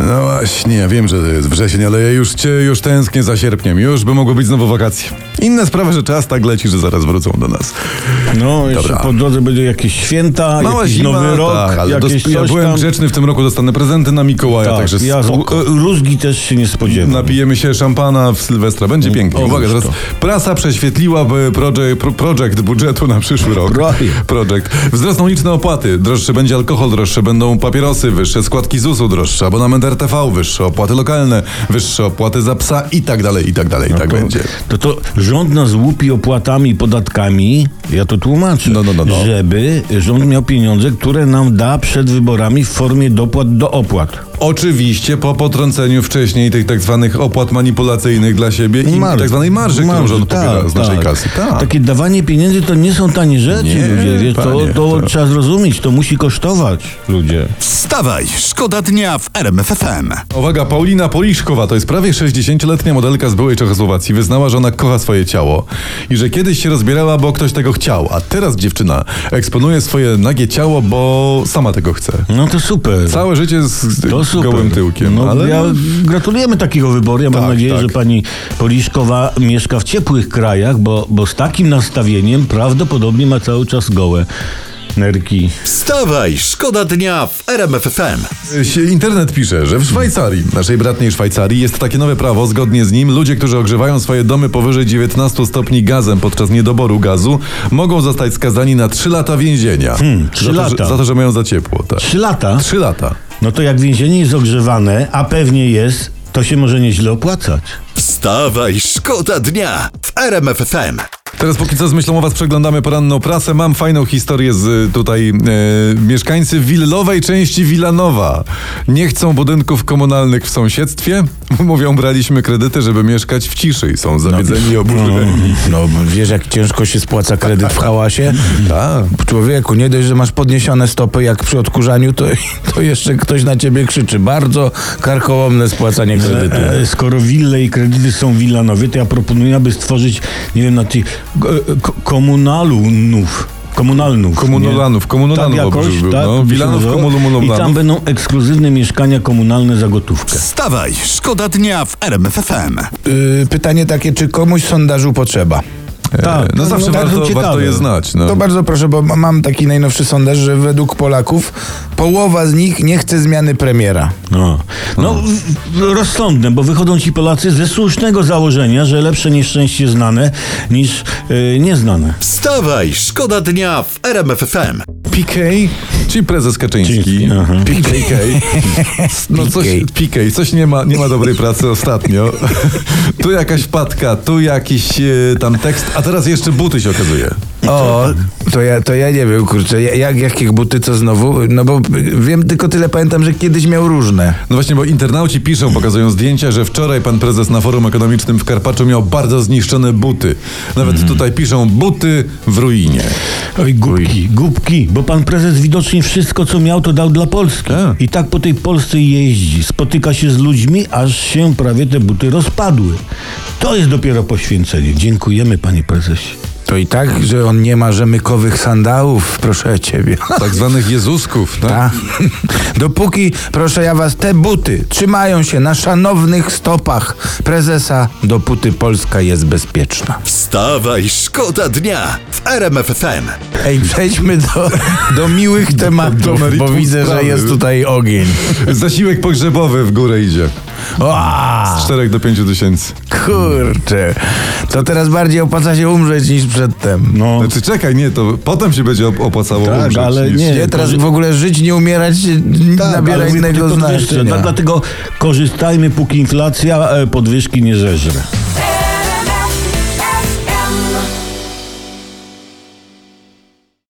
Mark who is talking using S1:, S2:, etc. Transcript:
S1: No właśnie, ja wiem, że to jest wrzesień, ale ja już cię, już tęsknię za sierpniem. Już by mogło być znowu wakacje. Inna sprawa, że czas tak leci, że zaraz wrócą do nas.
S2: No, jeszcze
S1: Dobra.
S2: po drodze będzie jakieś święta,
S1: Mała
S2: jakiś
S1: zima,
S2: nowy rok,
S1: tak, ale
S2: jakieś
S1: dos- ja
S2: coś
S1: byłem
S2: tam.
S1: grzeczny, w tym roku dostanę prezenty na Mikołaja,
S2: tak,
S1: także
S2: ja
S1: spoko.
S2: e, rózgi też się nie spodziewam.
S1: Napijemy się szampana w Sylwestra, będzie pięknie.
S2: o,
S1: Uwaga,
S2: już
S1: teraz prasa prześwietliła project, project budżetu na przyszły rok.
S2: Projekt.
S1: Project. Wzrosną liczne opłaty, droższy będzie alkohol, droższe będą papierosy, wyższe składki ZUS-u, droższy abonament RTV, wyższe opłaty lokalne, wyższe opłaty za psa i tak dalej, i tak dalej, i tak
S2: No to,
S1: będzie.
S2: To, to rząd nas łupi opłatami i podatkami, ja to tłumaczę,
S1: No, no, no, no.
S2: żeby rząd miał pieniądze, które nam da przed wyborami w formie dopłat do opłat.
S1: Oczywiście po potrąceniu wcześniej tych tak zwanych opłat manipulacyjnych dla siebie i
S2: Marży.
S1: tak zwanej marży, którą rząd pobiera z naszej
S2: tak.
S1: kasy. Tak.
S2: Takie dawanie pieniędzy to nie są tanie rzeczy,
S1: Nie,
S2: ludzie. Wiesz,
S1: panie,
S2: to to
S1: tak.
S2: trzeba zrozumieć, to musi kosztować, ludzie.
S3: Wstawaj, szkoda dnia w RMFFM.
S1: Uwaga, Paulina Poliszkowa to jest prawie 60-letnia modelka z byłej Czechosłowacji. Wyznała, że ona kocha swoje ciało i że kiedyś się rozbierała, bo ktoś tego chciał, a teraz dziewczyna eksponuje swoje nagie ciało, bo sama tego chce.
S2: No to super.
S1: Całe życie z,
S2: To
S1: z
S2: super.
S1: gołym tyłkiem,
S2: No,
S1: ale
S2: ja, gratulujemy takiego wyboru. Ja
S1: Tak,
S2: mam nadzieję,
S1: tak.
S2: że pani Poliszkowa mieszka w ciepłych krajach, bo, bo z takim nastawieniem prawdopodobnie ma cały czas gołe nerki.
S3: Wstawaj, szkoda dnia w RMFFM.
S1: się internet pisze, że w Szwajcarii, naszej bratniej Szwajcarii, jest takie nowe prawo. Zgodnie z nim ludzie, którzy ogrzewają swoje domy powyżej 19 stopni gazem podczas niedoboru gazu, mogą zostać skazani na 3 lata więzienia. Hmm,
S2: trzy
S1: za, To,
S2: lata.
S1: że, za to, że mają za ciepło. Tak.
S2: Trzy lata?
S1: 3 lata.
S2: No to jak więzienie jest ogrzewane, a pewnie jest, to się może nieźle opłacać.
S3: Wstawaj, szkoda dnia w RMFFM.
S1: Teraz póki co z myślą o was przeglądamy poranną prasę. Mam fajną historię z y, tutaj y, mieszkańcy willowej części Wilanowa. Nie chcą budynków komunalnych w sąsiedztwie. Mówią, braliśmy kredyty, żeby mieszkać w ciszy i są zawiedzeni i oburzeni.
S4: No wiesz, jak ciężko się spłaca kredyt w hałasie?
S1: Tak.
S4: Człowieku, nie dość, że masz podniesione stopy jak przy odkurzaniu, to, to jeszcze ktoś na ciebie krzyczy. Bardzo karkołomne spłacanie kredytu.
S2: E, e, Skoro wille i kredyty są Wilanowie, to ja proponuję, aby stworzyć, nie wiem, na tych e, ko- komunalunów. Komunalnów.
S1: Komunolanów,
S2: nie?
S1: komunolanów
S2: tak jakoś,
S1: obrzyż był,
S2: tak,
S1: no.
S2: by się
S1: Wilanów,
S2: nazywało. I
S1: komunolanów.
S2: tam będą ekskluzywne mieszkania komunalne za gotówkę.
S3: Wstawaj, szkoda dnia w RMFFM.
S4: Y, pytanie takie, czy komuś sondażu potrzeba?
S2: Tak,
S1: No zawsze
S2: tak,
S1: warto,
S2: ciekawe.
S1: warto je znać. No.
S4: To bardzo proszę, bo ma- mam taki najnowszy sondaż, że według Polaków połowa z nich nie chce zmiany premiera.
S2: No, no w- w- rozsądne, bo wychodzą ci Polacy ze słusznego założenia, że lepsze nieszczęście znane niż e, nieznane.
S3: Wstawaj, szkoda dnia w RMFFM.
S1: PK, czyli prezes Kaczyński.
S2: Kaczyński, aha.
S1: PK. No coś, PK, coś nie ma, nie ma dobrej pracy ostatnio. Tu jakaś wpadka, tu jakiś e, tam tekst, a teraz jeszcze buty się okazuje.
S4: O, to ja, to ja nie wiem, kurczę, ja- jak, jakie buty, co znowu? No bo y, wiem, tylko tyle pamiętam, że kiedyś miał różne.
S1: No właśnie, bo internauci piszą, pokazują zdjęcia, że wczoraj pan prezes na forum ekonomicznym w Karpaczu miał bardzo zniszczone buty. Nawet
S2: Mhm.
S1: tutaj piszą buty w ruinie.
S2: Oj, głupki, głupki, bo pan prezes widocznie wszystko, co miał, to dał dla Polski.
S1: Tak.
S2: I tak po tej Polsce jeździ, spotyka się z ludźmi, aż się prawie te buty rozpadły. To jest dopiero poświęcenie. Dziękujemy, panie prezesie.
S4: To i tak, że on nie ma rzemykowych sandałów, proszę ciebie.
S1: Tak zwanych Jezusków. Tak?
S4: Ta. Dopóki, proszę ja was, te buty trzymają się na szanownych stopach prezesa, dopóty Polska jest bezpieczna.
S3: Wstawaj, szkoda dnia w RMFFM.
S4: Ej, przejdźmy do, do miłych tematów,
S1: meritum
S4: bo widzę, że
S1: sprawy.
S4: jest tutaj ogień.
S2: Tak.
S1: Zasiłek pogrzebowy w górę idzie.
S4: O,
S1: Z 4 do 5 tysięcy.
S4: kurczę. To teraz bardziej opłaca się umrzeć niż przedtem.
S2: No,
S1: Znaczy czekaj, nie, to potem się będzie op- opłacało
S2: Tak,
S1: umrzeć
S2: ale
S1: niż-
S2: nie. Tak,
S4: Nie, teraz w ogóle żyć, nie umierać, nabiera
S2: ale mówię,
S4: No, tak,
S2: tylko
S4: innego
S2: podwyżce.
S4: znaczenia.
S2: Dla- Dlatego korzystajmy, póki inflacja e, podwyżki nie zeżre.